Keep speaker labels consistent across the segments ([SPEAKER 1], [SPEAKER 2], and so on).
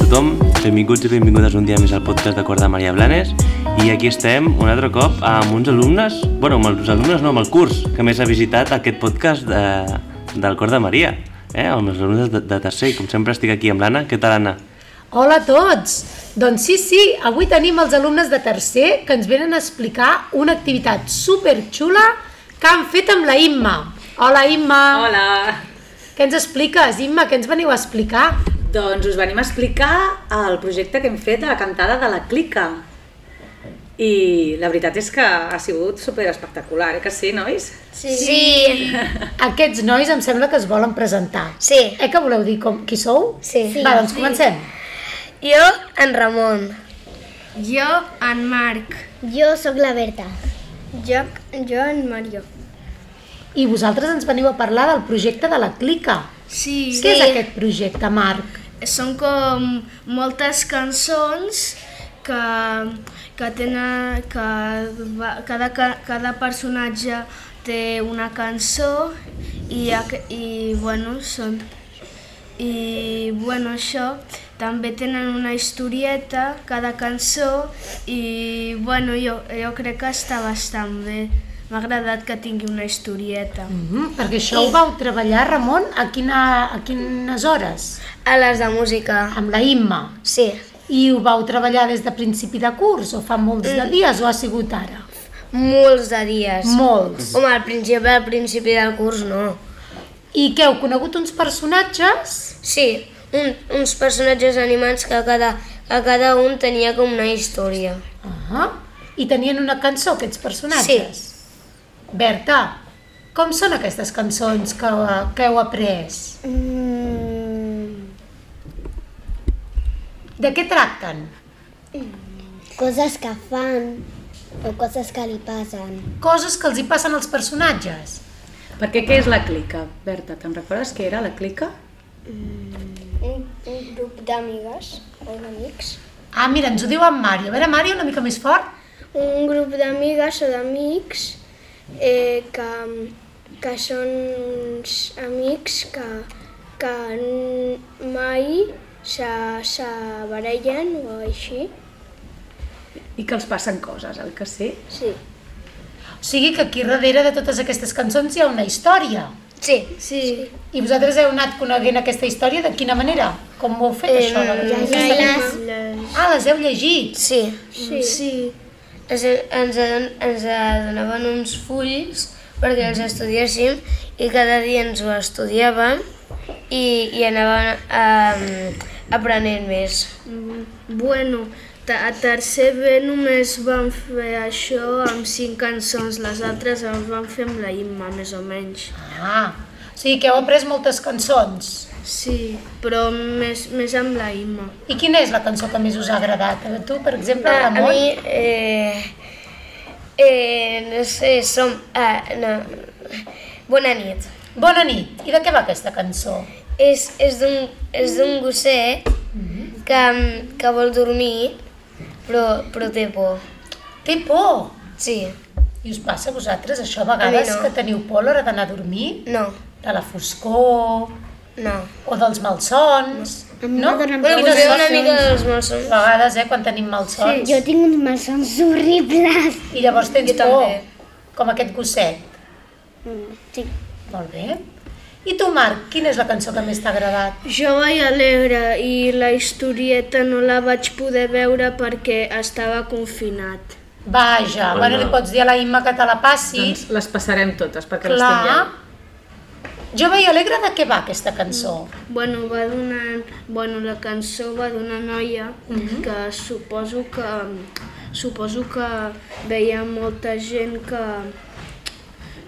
[SPEAKER 1] tothom, benvinguts i benvingudes un dia més al podcast de Cor de Maria Blanes i aquí estem un altre cop amb uns alumnes, bueno, amb els alumnes no, amb el curs que més ha visitat aquest podcast de, del Cor de Maria, eh? amb els alumnes de, de tercer i com sempre estic aquí amb l'Anna. Què tal, Anna?
[SPEAKER 2] Hola a tots! Doncs sí, sí, avui tenim els alumnes de tercer que ens venen a explicar una activitat superxula que han fet amb la Imma. Hola, Imma!
[SPEAKER 3] Hola!
[SPEAKER 2] Què ens expliques, Imma? Què ens veniu a explicar?
[SPEAKER 3] Doncs us venim a explicar el projecte que hem fet de la cantada de la Clica. I la veritat és que ha sigut super espectacular, eh que sí, nois?
[SPEAKER 4] Sí. Sí.
[SPEAKER 2] Aquests nois em sembla que es volen presentar.
[SPEAKER 4] Sí.
[SPEAKER 2] Eh que voleu dir com, qui sou?
[SPEAKER 4] Sí. Sí.
[SPEAKER 2] Va, doncs comencem.
[SPEAKER 4] Jo, en Ramon.
[SPEAKER 5] Jo, en Marc.
[SPEAKER 4] Jo sóc la Berta.
[SPEAKER 5] Jo, jo en Mario.
[SPEAKER 2] I vosaltres ens veniu a parlar del projecte de la Clica.
[SPEAKER 5] Sí,
[SPEAKER 2] Què és aquest projecte, Marc?
[SPEAKER 5] són com moltes cançons que, que tenen... Que, va- cada, ca- cada personatge té una cançó i, aqu- i bueno, són... I bueno, això, també tenen una historieta, cada cançó, i bueno, jo, jo crec que està bastant bé. M'ha agradat que tingui una historieta.
[SPEAKER 2] Mm perquè això ho vau treballar, Ramon, a, quina, a quines hores?
[SPEAKER 4] A les de música.
[SPEAKER 2] Amb la Imma.
[SPEAKER 4] Sí.
[SPEAKER 2] I ho vau treballar des de principi de curs o fa molts de dies o ha sigut ara?
[SPEAKER 4] Molts de dies.
[SPEAKER 2] Molts.
[SPEAKER 4] Home, al principi, al principi del curs no.
[SPEAKER 2] I que heu conegut uns personatges?
[SPEAKER 4] Sí, un, uns personatges animats que cada, que cada un tenia com una història.
[SPEAKER 2] Uh -huh. I tenien una cançó, aquests personatges? Sí. Berta, com són aquestes cançons que, que heu après? De què tracten?
[SPEAKER 6] Coses que fan o coses que li passen.
[SPEAKER 2] Coses que els hi passen als personatges.
[SPEAKER 3] Perquè què és la Clica, Berta? Te'n recordes què era la Clica?
[SPEAKER 6] Un, un grup d'amigues o d'amics.
[SPEAKER 2] Ah, mira, ens ho diu en Mario. A veure, Mario, una mica més fort.
[SPEAKER 6] Un grup d'amigues o d'amics eh, que, que són uns amics que, que n- mai se, se barallen o així.
[SPEAKER 3] I que els passen coses, el que sí?
[SPEAKER 6] Sí.
[SPEAKER 2] O sigui que aquí darrere de totes aquestes cançons hi ha una història.
[SPEAKER 4] Sí. Sí.
[SPEAKER 2] I vosaltres heu anat coneguent aquesta història de quina manera? Com ho heu
[SPEAKER 4] Eh,
[SPEAKER 2] fet, això? de la història? Ah, les heu llegit.
[SPEAKER 4] Sí.
[SPEAKER 6] Sí.
[SPEAKER 5] Sí.
[SPEAKER 4] Ens, ens, adon- ens donaven uns fulls perquè
[SPEAKER 5] Mm.
[SPEAKER 4] els estudiéssim i cada dia ens ho estudiàvem i, i anàvem eh, aprenent més.
[SPEAKER 5] Mm, Bueno, te- a tercer B només vam fer això amb cinc cançons, les altres les vam fer amb la Imma, més o menys.
[SPEAKER 2] Ah, o sigui que heu après moltes cançons.
[SPEAKER 5] Sí, però més, més amb la Imma.
[SPEAKER 2] I quina és la cançó que més us ha agradat? A tu, per exemple,
[SPEAKER 4] Ah, A, a
[SPEAKER 2] Ramon?
[SPEAKER 4] mi, eh, eh, no sé, som... Ah, no. Bona nit.
[SPEAKER 2] Bona nit. I de què va aquesta cançó?
[SPEAKER 4] És, és d'un és d'un gosset
[SPEAKER 5] Mhm.
[SPEAKER 4] que, mm, que vol dormir, però, però té por.
[SPEAKER 2] Té por.
[SPEAKER 4] Sí,
[SPEAKER 2] I us passa a vosaltres això a vegades
[SPEAKER 4] A mi no.
[SPEAKER 2] que teniu por a l'hora d'anar a dormir?
[SPEAKER 4] no,
[SPEAKER 2] De la foscor
[SPEAKER 4] no.
[SPEAKER 2] o dels malsons? No?
[SPEAKER 4] Bueno,
[SPEAKER 2] Quines
[SPEAKER 4] potser una
[SPEAKER 2] emocions?
[SPEAKER 4] mica dels malsons.
[SPEAKER 2] A vegades, eh, quan tenim malsons.
[SPEAKER 6] Jo tinc uns malsons horribles.
[SPEAKER 2] I llavors tens
[SPEAKER 4] Jo
[SPEAKER 2] por,
[SPEAKER 4] també.
[SPEAKER 2] com aquest gosset.
[SPEAKER 6] Sí.
[SPEAKER 2] Molt bé. I tu, Marc, quina és la cançó que més t'ha agradat?
[SPEAKER 5] Jo vaig alegre i la historieta no la vaig poder veure perquè estava confinat.
[SPEAKER 2] Vaja, bueno, bueno li pots dir a la Imma que te la passi.
[SPEAKER 3] Doncs les passarem totes perquè les
[SPEAKER 2] Clar.
[SPEAKER 3] tingueu.
[SPEAKER 2] Jo veia alegre de què va aquesta cançó.
[SPEAKER 5] Mm. Bueno, va donar, bueno, la cançó va d'una noia que suposo que suposo que veia molta gent que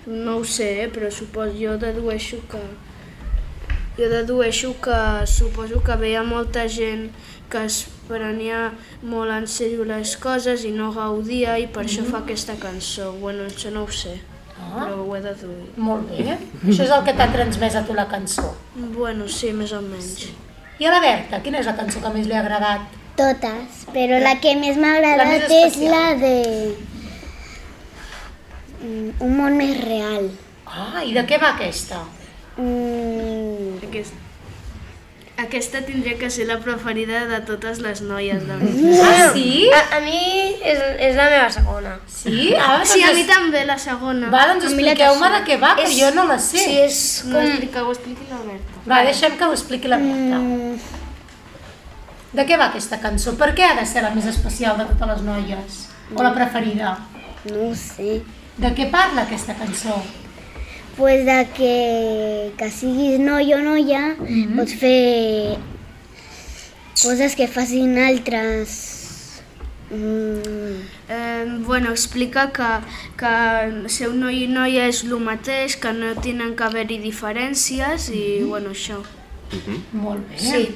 [SPEAKER 5] no ho sé, eh, però suposo jo dedueixo que jo dedueixo que suposo que veia molta gent que es prenia molt en sèrio les coses i no gaudia i per això fa aquesta cançó. Bueno, això no ho sé, però ho he deduït.
[SPEAKER 2] Molt bé. eh? Això és el que t'ha transmès a tu la cançó.
[SPEAKER 5] Bueno, sí, més o menys.
[SPEAKER 2] I a la Berta, quina és la cançó que més li ha agradat?
[SPEAKER 6] Totes, però la que més
[SPEAKER 2] La
[SPEAKER 6] m'ha
[SPEAKER 2] més
[SPEAKER 6] agradat és
[SPEAKER 2] especial.
[SPEAKER 6] la de... Mm, Un món més real.
[SPEAKER 2] Ah, i de què va aquesta?
[SPEAKER 6] Mm,
[SPEAKER 5] Aquest... Aquesta tindria que ser la preferida de totes les noies, la veritat.
[SPEAKER 2] Ah, sí?
[SPEAKER 4] A, a mi és, és la meva segona.
[SPEAKER 2] Sí? Ah,
[SPEAKER 5] Sí, a
[SPEAKER 2] doncs
[SPEAKER 5] mi
[SPEAKER 2] es-
[SPEAKER 5] també, la segona.
[SPEAKER 2] Va, doncs expliqueu-me de què va, que jo no la sé.
[SPEAKER 4] Sí, és
[SPEAKER 5] No
[SPEAKER 4] com...
[SPEAKER 5] explica, ho expliqui la Berta.
[SPEAKER 2] Va, deixem que ho expliqui la Berta.
[SPEAKER 6] mm,
[SPEAKER 2] De què va aquesta cançó? Per què ha de ser la més especial de totes les noies? O la preferida?
[SPEAKER 7] No sé.
[SPEAKER 2] De què parla aquesta cançó?
[SPEAKER 7] Pues de que, que siguis noi o noia, mm -hmm.
[SPEAKER 6] Pues
[SPEAKER 7] pots fer coses que facin altres. Mm,
[SPEAKER 5] Eh, bueno, explica que, que ser un noi i noia és el mateix, que no tenen que haver-hi diferències i, bueno, això.
[SPEAKER 2] Molt bé. Sí.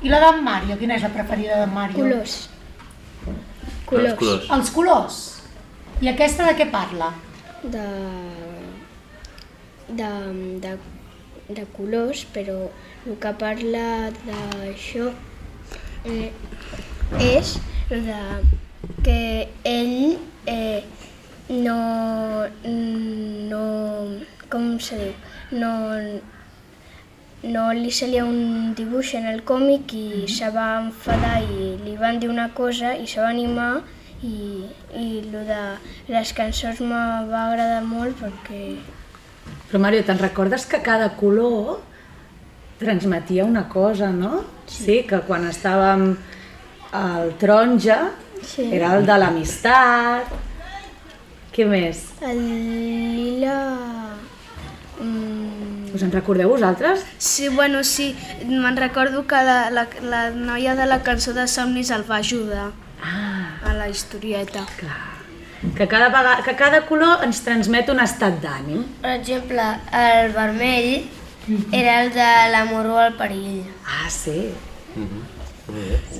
[SPEAKER 2] I la d'en Mario? Quina és la preferida d'en Mario?
[SPEAKER 6] Colors.
[SPEAKER 1] Colors.
[SPEAKER 6] Colors.
[SPEAKER 1] colors.
[SPEAKER 2] Els colors. I aquesta de què parla?
[SPEAKER 6] De... De, de, de colors, però el que parla d'això eh, és lo de que ell eh, no, no... Com se diu? No, no li salia un dibuix en el còmic i
[SPEAKER 7] Mhm.
[SPEAKER 6] se va enfadar i li van dir una cosa i se va animar i, i lo de les cançons me va agradar molt perquè
[SPEAKER 8] Però Mario, te'n recordes que cada color transmetia una cosa, no? Sí, sí que quan estàvem al taronja sí. era el de l'amistat. Què més?
[SPEAKER 6] el lila... Mm,
[SPEAKER 8] Us en recordeu vosaltres?
[SPEAKER 5] Sí, bueno, sí, me'n recordo que la, la, la noia de la cançó de Somnis el va ajudar
[SPEAKER 8] Ah,
[SPEAKER 5] a la historieta.
[SPEAKER 8] clar. Que cada, vegada, que cada color ens transmet un estat d'ànim.
[SPEAKER 4] Per exemple, el vermell era el de l'amor o el perill.
[SPEAKER 8] Ah, sí.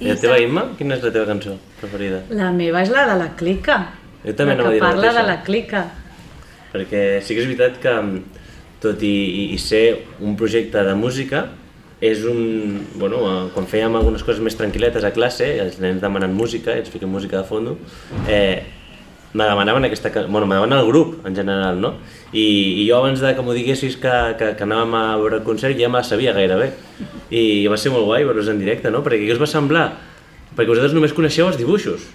[SPEAKER 1] I la teva, Imma, quina és la teva cançó preferida?
[SPEAKER 8] La meva és la de la clica.
[SPEAKER 1] Jo també
[SPEAKER 8] la
[SPEAKER 1] anava a
[SPEAKER 8] que
[SPEAKER 1] dir la
[SPEAKER 8] parla de
[SPEAKER 1] mateixa.
[SPEAKER 8] la clica.
[SPEAKER 1] Perquè sí que és veritat que, tot i, i, i ser un projecte de música, és un... Bueno, eh, quan fèiem algunes coses més tranquil·letes a classe, els nens demanen música, i ens fiquem música de fondo, eh, me demanaven aquesta... ca- Bueno, me demanaven el grup, en general, no? I, i jo abans de que m'ho diguessis que, que, que anàvem a veure el concert ja me la sabia gairebé. I va ser molt guai veure-los en directe, no? Perquè què us va semblar? Perquè vosaltres només coneixeu els dibuixos,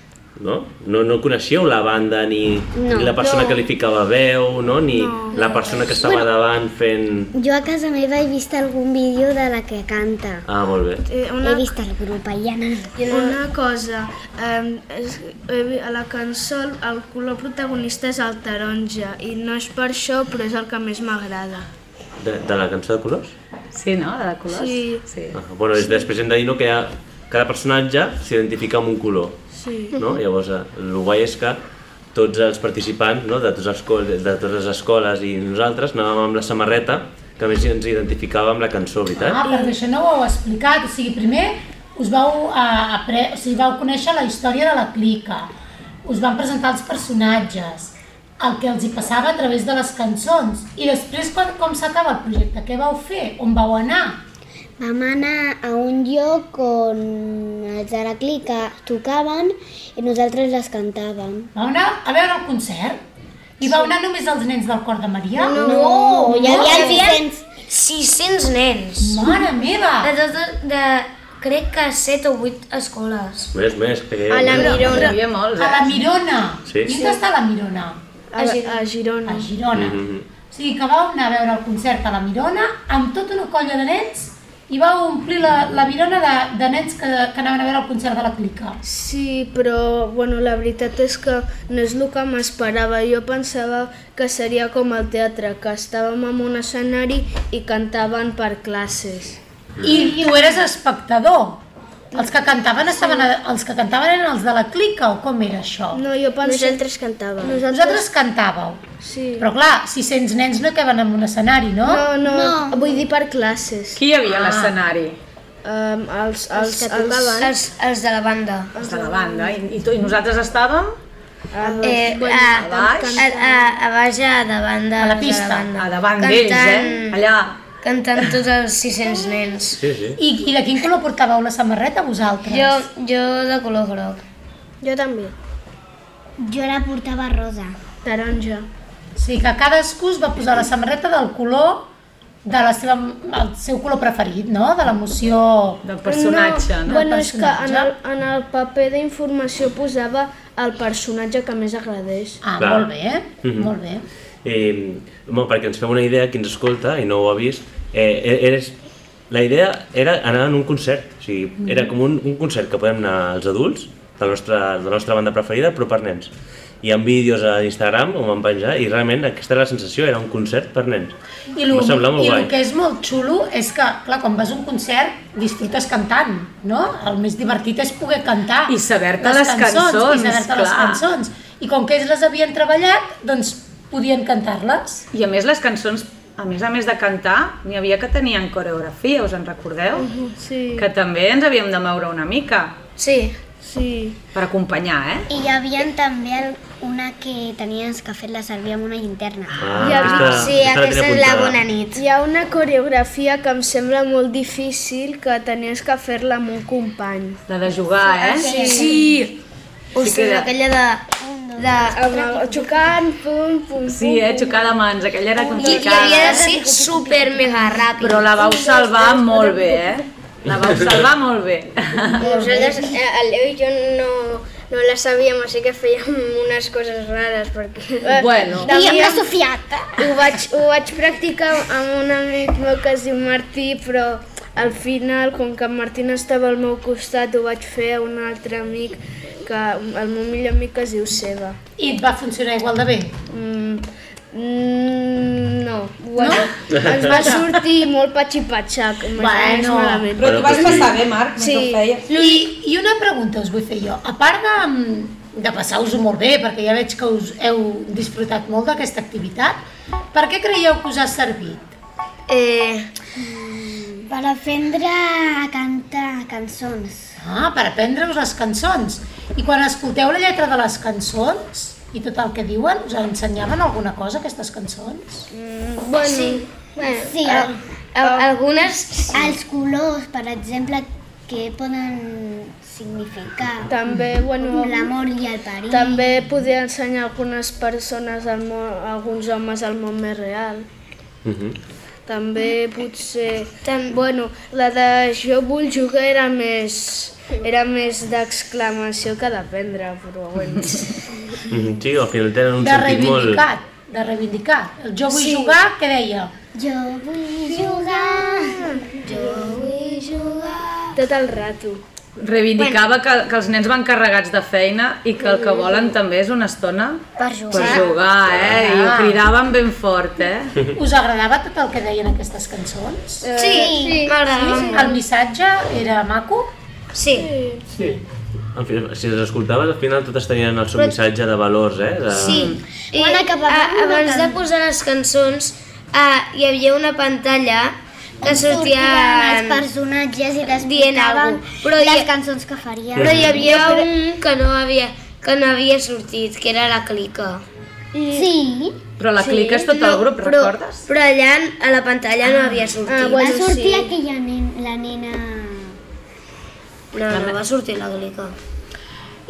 [SPEAKER 1] no? No, no coneixeu la banda ni, no, ni la persona no. que li ficava veu, no? Ni no, la persona que estava bueno. davant fent...
[SPEAKER 7] jo a casa meva he vist algun vídeo de la que canta.
[SPEAKER 1] Ah, molt bé.
[SPEAKER 5] Eh,
[SPEAKER 7] He vist el grup allà.
[SPEAKER 5] Una cosa, eh, és- eh, a la cançó el color protagonista és el taronja i no és per això, però és el que més m'agrada.
[SPEAKER 1] De, de la cançó de colors?
[SPEAKER 8] Sí, no? De la colors?
[SPEAKER 5] Sí.
[SPEAKER 8] sí.
[SPEAKER 1] Ah, bueno, és, després hem de dir no, que ha, cada personatge s'identifica amb un color,
[SPEAKER 5] Sí.
[SPEAKER 1] no? Llavors, eh, el guai és que tots els participants no, de, tots els, col- de totes les escoles i nosaltres anàvem amb la samarreta que a més ens identificava amb la cançó, veritat?
[SPEAKER 2] Ah, perquè això no ho heu explicat. O sigui, primer us vau, eh, apre... o sigui, vau conèixer la història de la clica, us van presentar els personatges, el que els hi passava a través de les cançons, i després quan, com s'acaba el projecte, què vau fer, on vau anar?
[SPEAKER 7] Vam anar a un lloc on els de la clica tocaven i nosaltres les cantàvem.
[SPEAKER 2] Vau anar a veure el concert? I vau anar només els nens del Cor de Maria? No,
[SPEAKER 7] No, hi havia
[SPEAKER 4] no.
[SPEAKER 7] 600...
[SPEAKER 4] 600 nens.
[SPEAKER 2] Mare meva!
[SPEAKER 4] De totes, de, crec que 7 o 8 escoles.
[SPEAKER 1] Més, més, que...
[SPEAKER 6] a la
[SPEAKER 8] Hi
[SPEAKER 6] Mirona
[SPEAKER 8] havia molts,
[SPEAKER 2] A
[SPEAKER 8] eh?
[SPEAKER 2] la Mirona!
[SPEAKER 1] Sí.
[SPEAKER 2] I on està la Mirona?
[SPEAKER 5] A, a Girona.
[SPEAKER 2] A Girona. O sigui que vau anar a veure el concert a la Mirona amb tota una colla de nens i vau omplir la, la Mirona de, de nens que, que anaven a veure el concert de la Clica.
[SPEAKER 5] Sí, però bueno, la veritat és que no és el que m'esperava. Jo pensava que seria com al teatre, que estàvem en un escenari i cantaven per classes.
[SPEAKER 2] I, i ho eres espectador. Els que cantaven estaven, a- els que cantaven eren els de la Clica o com era això?
[SPEAKER 5] No, jo pensava...
[SPEAKER 6] nosaltres cantàvem
[SPEAKER 2] Vosaltres cantàveu,
[SPEAKER 5] Sí.
[SPEAKER 2] però clar, 600 nens no caben en un escenari, no?
[SPEAKER 5] No, no, no, vull dir per classes.
[SPEAKER 8] Qui hi havia a l'escenari?
[SPEAKER 5] Um, els, els,
[SPEAKER 6] que tocaven
[SPEAKER 4] Els, els de la banda.
[SPEAKER 8] Els de la banda. I, i, tu, i nosaltres estàvem
[SPEAKER 6] Ah,
[SPEAKER 4] Eh, a, a,
[SPEAKER 8] baix.
[SPEAKER 4] a, a baix a davant de,
[SPEAKER 2] A la
[SPEAKER 4] de
[SPEAKER 2] pista.
[SPEAKER 8] a davant d'ells, eh?
[SPEAKER 4] Cantant-
[SPEAKER 8] Allà.
[SPEAKER 4] Cantant tots els 600 nens.
[SPEAKER 1] Sí, sí.
[SPEAKER 2] I, I de quin color portàveu la samarreta vosaltres?
[SPEAKER 4] Jo, jo de color groc.
[SPEAKER 6] jo també
[SPEAKER 7] Jo la portava rosa.
[SPEAKER 5] Taronja.
[SPEAKER 2] O sigui que cadascú es va posar la samarreta del color de la seva, el seu color preferit, no? De l'emoció...
[SPEAKER 8] Del personatge, no?
[SPEAKER 5] Bueno, és que en el,
[SPEAKER 2] personatge.
[SPEAKER 5] en el paper d'informació posava el personatge que més agradés.
[SPEAKER 2] Ah,
[SPEAKER 1] Clar.
[SPEAKER 2] molt bé,
[SPEAKER 1] Mhm.
[SPEAKER 2] molt bé.
[SPEAKER 1] Eh, bueno, perquè ens fem una idea, qui ens escolta i no ho ha vist, eh, e- eres, la idea era anar en un concert, o sigui, era com un, un concert que podem anar els adults, de la, nostra, de la nostra banda preferida, però per nens. Hi ha vídeos a Instagram on van penjar i realment aquesta era la sensació, era un concert per nens.
[SPEAKER 2] I lo,
[SPEAKER 1] Em va semblar molt
[SPEAKER 2] i lo
[SPEAKER 1] guai.
[SPEAKER 2] que és molt xulo és que, clar, quan vas a un concert disfrutes cantant, no? El més divertit és poder cantar.
[SPEAKER 8] I saber-te les cançons,
[SPEAKER 2] I saber-te les
[SPEAKER 8] clar.
[SPEAKER 2] cançons. I com que ells les havien treballat, doncs podien cantar-les.
[SPEAKER 8] I a més les cançons, a més a més de cantar, n'hi havia que tenien coreografia, us en recordeu?
[SPEAKER 5] Sí,
[SPEAKER 8] Que també ens havíem de moure una mica
[SPEAKER 4] Sí,
[SPEAKER 5] sí.
[SPEAKER 8] per acompanyar, eh?
[SPEAKER 7] I hi havia també el- una que tenies que fer-la servir amb una llinterna.
[SPEAKER 1] Ah,
[SPEAKER 5] Ja,
[SPEAKER 4] sí,
[SPEAKER 1] la
[SPEAKER 4] aquesta
[SPEAKER 1] tenia
[SPEAKER 4] és la
[SPEAKER 1] apuntada.
[SPEAKER 4] bona nit.
[SPEAKER 5] Hi ha una coreografia que em sembla molt difícil que tenies que fer-la amb un company.
[SPEAKER 8] La de jugar, eh? Sí.
[SPEAKER 4] Sí! Ostres,
[SPEAKER 8] que era-
[SPEAKER 4] aquella de... de...
[SPEAKER 5] Amb el, xocant, pum, pum,
[SPEAKER 8] Sí, eh? Xocar de mans, aquella era
[SPEAKER 4] I, i havia de
[SPEAKER 8] complicada.
[SPEAKER 4] ser super mega ràpid.
[SPEAKER 8] Però la vau salvar molt bé, eh? La vau salvar molt bé.
[SPEAKER 6] Nosaltres, eh, el Leo i jo no, no la sabíem, així que fèiem unes coses rares, perquè...
[SPEAKER 7] I
[SPEAKER 8] Bueno,
[SPEAKER 7] amb la
[SPEAKER 5] Devíem-
[SPEAKER 7] Sofiata.
[SPEAKER 5] Ho vaig, ho vaig practicar amb un amic meu que es diu Martí, però al final, com que en Martí no estava al meu costat, ho vaig fer a un altre amic, que el meu millor amic que es diu Seba.
[SPEAKER 2] I et va funcionar igual de bé.
[SPEAKER 5] Mm, mm, no, bueno, no? ens va sortir molt patxi-patxac, més
[SPEAKER 2] Bueno.
[SPEAKER 5] malament.
[SPEAKER 1] Però t'ho vas passar bé,
[SPEAKER 9] Marc,
[SPEAKER 5] Sí. mentre ho feies?
[SPEAKER 2] I, I una pregunta us vull fer jo. A part de, de passar-vos-ho molt bé, perquè ja veig que us heu disfrutat molt d'aquesta activitat, per què creieu que us ha servit?
[SPEAKER 4] Eh,
[SPEAKER 7] Per aprendre a cantar cançons.
[SPEAKER 2] Ah, per aprendre-us les cançons. I quan escolteu la lletra de les cançons i tot el que diuen, us ensenyaven alguna cosa aquestes cançons?
[SPEAKER 5] Bueno, sí.
[SPEAKER 7] Sí,
[SPEAKER 4] Ah. a- algunes...
[SPEAKER 7] els colors, per exemple, que poden significar
[SPEAKER 5] també, bueno,
[SPEAKER 7] l'amor i el perill.
[SPEAKER 5] també podia ensenyar algunes persones, al món, alguns homes al món més real.
[SPEAKER 1] Mhm.
[SPEAKER 5] També potser... Bueno, la de jo vull jugar era més era més d'exclamació que d'aprendre, però bueno.
[SPEAKER 1] Mhm, Sí, al final tenen un
[SPEAKER 2] De
[SPEAKER 1] sentit molt...
[SPEAKER 2] reivindicat, de reivindicar. El jo vull jugar, què deia?
[SPEAKER 7] Jo vull jugar, jo vull jugar.
[SPEAKER 5] Tot el rato.
[SPEAKER 9] Reivindicava que, que els nens van carregats de feina i que el que volen també és una estona
[SPEAKER 7] Per
[SPEAKER 9] per
[SPEAKER 7] jugar.
[SPEAKER 9] jugar, eh? I ho
[SPEAKER 2] Ah.
[SPEAKER 9] cridaven ben fort, eh?
[SPEAKER 2] Us agradava tot el que deien aquestes cançons?
[SPEAKER 5] Eh,
[SPEAKER 4] Sí, sí. m'agradava molt.
[SPEAKER 5] Ah.
[SPEAKER 2] El missatge era maco?
[SPEAKER 4] Sí.
[SPEAKER 1] Sí. En fi, si les escoltaves, al final totes tenien el seu missatge de valors, eh? De...
[SPEAKER 4] Sí, i
[SPEAKER 7] Bona que parlem
[SPEAKER 4] a-
[SPEAKER 7] una
[SPEAKER 4] abans de
[SPEAKER 7] can-
[SPEAKER 4] posar les cançons ah, hi havia una pantalla que
[SPEAKER 7] Sortien els
[SPEAKER 4] sortia...
[SPEAKER 7] personatges i les
[SPEAKER 4] dient
[SPEAKER 7] pintaven
[SPEAKER 4] alguna cosa.
[SPEAKER 7] però
[SPEAKER 4] Però
[SPEAKER 7] les
[SPEAKER 4] hi-
[SPEAKER 7] cançons que farien.
[SPEAKER 4] Però hi havia un que no havia, que no havia sortit, que era la clica.
[SPEAKER 7] Sí,
[SPEAKER 9] Però la clica és tot el grup,
[SPEAKER 4] però,
[SPEAKER 9] recordes?
[SPEAKER 4] Però allà a la pantalla no havia sortit.
[SPEAKER 5] Ah,
[SPEAKER 7] va
[SPEAKER 5] bueno,
[SPEAKER 7] sortir
[SPEAKER 5] sí.
[SPEAKER 7] aquella nen, la nena...
[SPEAKER 4] No, no va sortir la clica.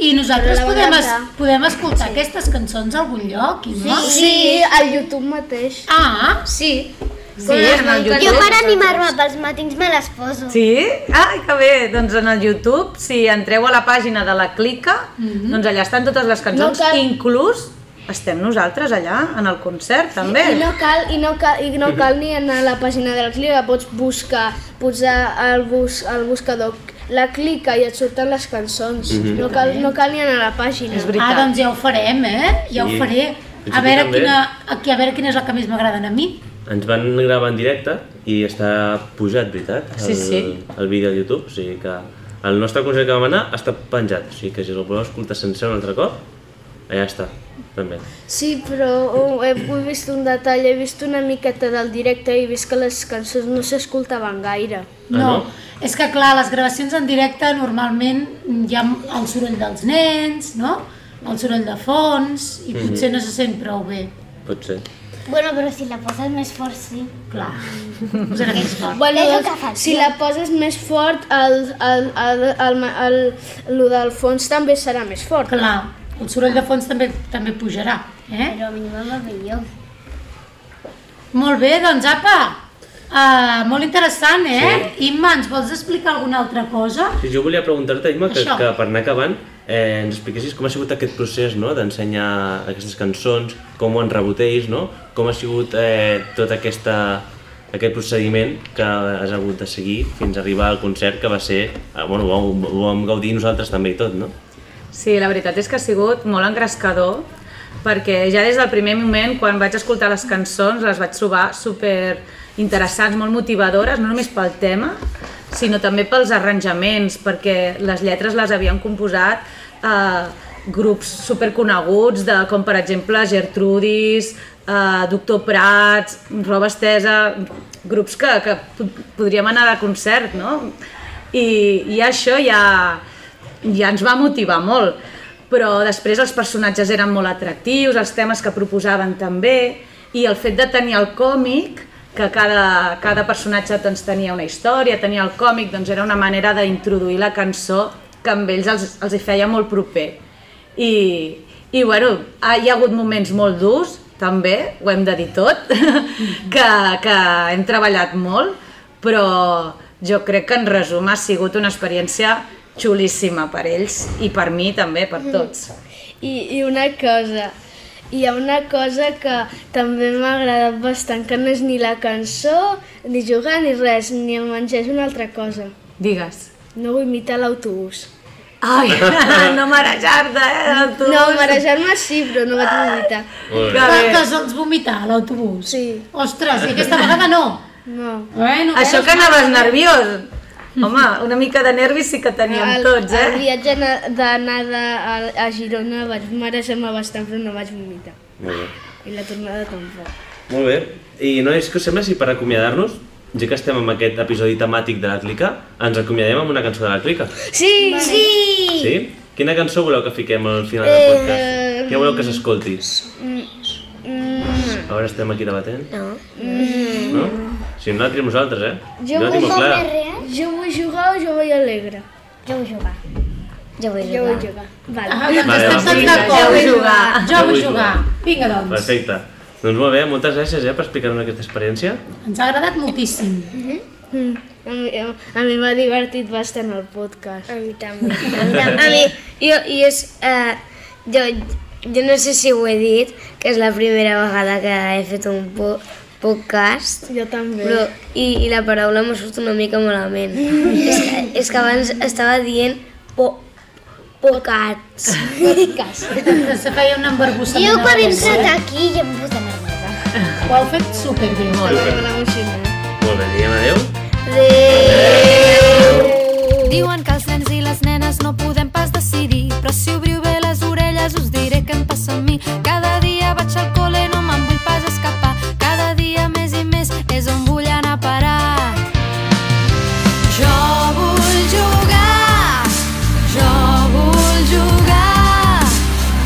[SPEAKER 2] I nosaltres
[SPEAKER 5] Però la
[SPEAKER 2] podem, es,
[SPEAKER 5] banda.
[SPEAKER 2] podem escoltar aquestes cançons a algun lloc? Imma?
[SPEAKER 5] Sí, al YouTube mateix.
[SPEAKER 2] Ah,
[SPEAKER 4] Ah, Sí.
[SPEAKER 9] Sí, en el
[SPEAKER 7] Jo
[SPEAKER 9] YouTube.
[SPEAKER 7] per animar-me pels matins me les poso.
[SPEAKER 9] Sí? Ai, que bé! Doncs en el YouTube, si entreu a la pàgina de la Clica, doncs allà estan totes les cançons,
[SPEAKER 5] No cal-
[SPEAKER 9] inclús estem nosaltres allà, en el concert, també.
[SPEAKER 5] I no cal, i no cal, i no cal ni anar a la pàgina de la clica, pots buscar, posar al, bus, al buscador la clica i et surten les cançons. no, cal, no cal ni anar a la pàgina.
[SPEAKER 9] És
[SPEAKER 2] ah,
[SPEAKER 9] veritat.
[SPEAKER 2] doncs ja ho farem, eh? Ja
[SPEAKER 1] Sí.
[SPEAKER 2] ho faré.
[SPEAKER 1] Fins
[SPEAKER 2] A
[SPEAKER 1] i
[SPEAKER 2] veure,
[SPEAKER 1] tot també. Ah,
[SPEAKER 2] quina, aquí, a veure quina és la que més m'agraden a mi.
[SPEAKER 1] Ens van gravar en directe i està pujat, veritat? El,
[SPEAKER 9] Sí, sí.
[SPEAKER 1] El vídeo a YouTube, o sigui que el nostre concert que vam anar està penjat, o sigui que si el voleu escoltar sencer un altre cop, allà està, també.
[SPEAKER 5] Sí, però oh, he, he vist un detall, he vist una miqueta del directe i he vist que les cançons no s'escoltaven gaire.
[SPEAKER 1] Ah,
[SPEAKER 2] No,
[SPEAKER 1] no?
[SPEAKER 2] és que clar, les gravacions en directe normalment hi ha el soroll dels nens, no? El soroll de fons, i potser no se sent prou bé.
[SPEAKER 1] Pot ser.
[SPEAKER 7] Bueno, però si la poses més fort, sí. Mm.
[SPEAKER 2] Clar, posarem més fort.
[SPEAKER 5] Bueno,
[SPEAKER 7] És el
[SPEAKER 5] doncs,
[SPEAKER 7] que faig
[SPEAKER 5] si
[SPEAKER 7] jo.
[SPEAKER 5] la poses més fort, el, el, el, el, el, el, lo del fons també serà més fort.
[SPEAKER 2] Clar, el soroll de fons també també pujarà, eh?
[SPEAKER 7] Però a mi m'ha millor.
[SPEAKER 2] Molt bé, doncs apa! Uh, molt interessant, eh? Sí. Imma, ens vols explicar alguna altra cosa?
[SPEAKER 1] Sí, jo volia preguntar-te, Imma, que,
[SPEAKER 2] Això.
[SPEAKER 1] que per anar acabant eh, ens expliquessis com ha sigut aquest procés no? d'ensenyar aquestes cançons, com ho enrebut ells, no? com ha sigut eh, tot aquesta, aquest procediment que has hagut de seguir fins a arribar al concert que va ser, eh, bueno, ho, vam- ho vam gaudir nosaltres també i tot, no?
[SPEAKER 9] Sí, la veritat és que ha sigut molt engrescador perquè ja des del primer moment, quan vaig escoltar les cançons, les vaig trobar super interessants, molt motivadores, no només pel tema, sinó també pels arranjaments, perquè les lletres les havien composat eh, grups superconeguts, de, com per exemple Gertrudis, eh, Doctor Prats, Roba Estesa, grups que, que pod- podríem anar de concert, no? I, i això ja, ja ens va motivar molt. Però després els personatges eren molt atractius, els temes que proposaven també, i el fet de tenir el còmic, que cada, cada personatge doncs, tenia una història, tenia el còmic, doncs era una manera d'introduir la cançó que amb ells els, els hi feia molt proper. I, i bueno, ha, hi ha hagut moments molt durs, també, ho hem de dir tot, que, que hem treballat molt, però jo crec que en resum ha sigut una experiència xulíssima per ells i per mi també, per
[SPEAKER 5] Mm.
[SPEAKER 9] tots.
[SPEAKER 5] I, I una cosa, hi ha una cosa que també m'ha agradat bastant, que no és ni la cançó, ni jugar, ni res, ni el menjar, és una altra cosa.
[SPEAKER 9] Digues.
[SPEAKER 5] No vull imitar l'autobús.
[SPEAKER 9] Ai, no marejar-te, eh, tu.
[SPEAKER 5] No, marejar-me sí, però no vaig vomitar.
[SPEAKER 1] Molt
[SPEAKER 2] Que,
[SPEAKER 9] bé.
[SPEAKER 2] que sols doncs, vomitar a l'autobús.
[SPEAKER 5] Sí.
[SPEAKER 2] Ostres, i aquesta vegada no.
[SPEAKER 5] No.
[SPEAKER 2] Bueno,
[SPEAKER 9] Això que anaves nerviós. Home, una mica de nervis sí que teníem
[SPEAKER 5] El,
[SPEAKER 9] tots, eh?
[SPEAKER 5] el viatge na- d'anada a, a Girona vaig marejar-me bastant, però no vaig vomitar.
[SPEAKER 1] Molt bé.
[SPEAKER 5] I la tornada tampoc.
[SPEAKER 1] Molt bé. I nois, què us sembla si per acomiadar-nos, ja que estem en aquest episodi temàtic de la clica, ens acomiadem amb una cançó de la clica?
[SPEAKER 5] Sí, sí!
[SPEAKER 1] Sí? Eh, Quina cançó voleu que fiquem al final del podcast? Què voleu que s'escolti? A veure, estem aquí debatent? mm, No. No? Si no la triem nosaltres, eh?
[SPEAKER 6] Jo
[SPEAKER 1] la
[SPEAKER 6] vull
[SPEAKER 1] tinc molt
[SPEAKER 6] molt
[SPEAKER 1] clara.
[SPEAKER 6] més real.
[SPEAKER 5] Jo vull jugar o jo vull alegre?
[SPEAKER 6] Jo vull jugar. Jo vull
[SPEAKER 5] Jo vull
[SPEAKER 6] jugar.
[SPEAKER 5] jugar. Vale.
[SPEAKER 2] Ah, doncs
[SPEAKER 1] Vale,
[SPEAKER 2] estem
[SPEAKER 1] doncs
[SPEAKER 2] tots
[SPEAKER 1] vinga,
[SPEAKER 9] ja
[SPEAKER 2] d'acord.
[SPEAKER 9] vull jugar.
[SPEAKER 2] Jo
[SPEAKER 1] Ja vull
[SPEAKER 2] vull jugar.
[SPEAKER 1] jugar.
[SPEAKER 2] Vinga, doncs.
[SPEAKER 1] Perfecte. Doncs molt bé, moltes gràcies eh, per explicar-nos aquesta experiència.
[SPEAKER 2] Ens ha agradat moltíssim.
[SPEAKER 5] Mm. A mi, a, a mi m'ha divertit bastant el podcast.
[SPEAKER 6] A mi també.
[SPEAKER 4] A mi, jo, i és, eh, jo, jo no sé si ho he dit, que és la primera vegada que he fet un po podcast,
[SPEAKER 5] Jo també.
[SPEAKER 4] però, i, i la paraula m'ha sortit una mica malament. és, que, és que abans estava dient po pocats.
[SPEAKER 2] Se feia un embarbussament.
[SPEAKER 6] Jo
[SPEAKER 2] a la
[SPEAKER 6] quan he
[SPEAKER 2] boca,
[SPEAKER 6] entrat aquí ja em posa nerviosa.
[SPEAKER 2] eh? Ho heu fet superbé.
[SPEAKER 1] Molt bé. Molt bé, diguem adeu.
[SPEAKER 10] Diuen que els nens i les nenes no podem pas decidir, però si obriu bé les orelles us diré què em passa a mi. Cada dia vaig al col·le, no me'n vull pas escapar. Cada dia més i més és on vull anar a parar. Jo vull jugar, jo vull jugar,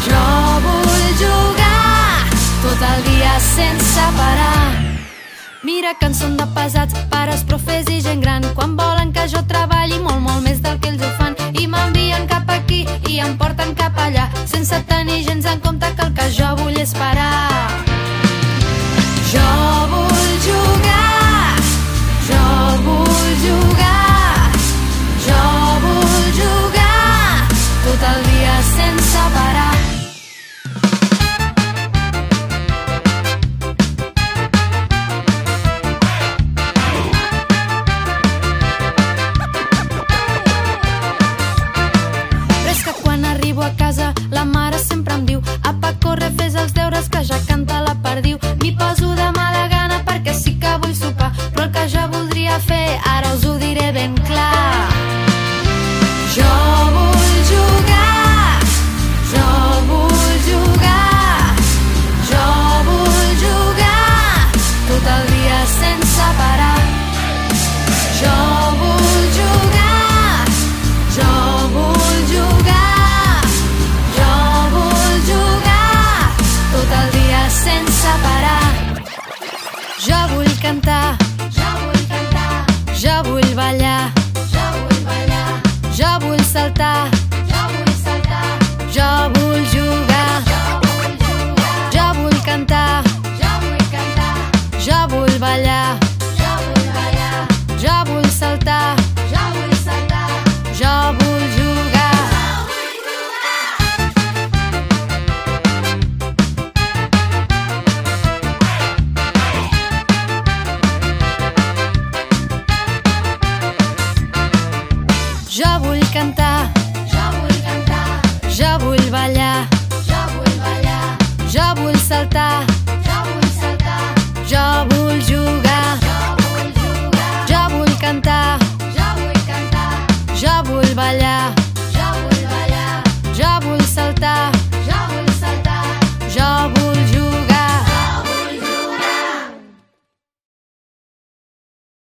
[SPEAKER 10] jo vull jugar, tot el dia sense parar. Mira que en són de pesats, pares, profes i gent gran Quan volen que jo treballi molt, molt més del que ells ho fan I m'envien cap aquí i em porten cap allà Sense tenir gens en compte que el que jo vull és parar Jo vull jugar Jo vull jugar Jo vull jugar Tot el dia sense parar Però és que quan arribo a casa la mare sempre em diu Apa, corre, fes els deures que ja canta la perdiu M'hi poso de mala gana perquè sí que vull sopar Però el que jo voldria fer ara us ho diré ben clar Jo vull jugar, jo Jo vull cantar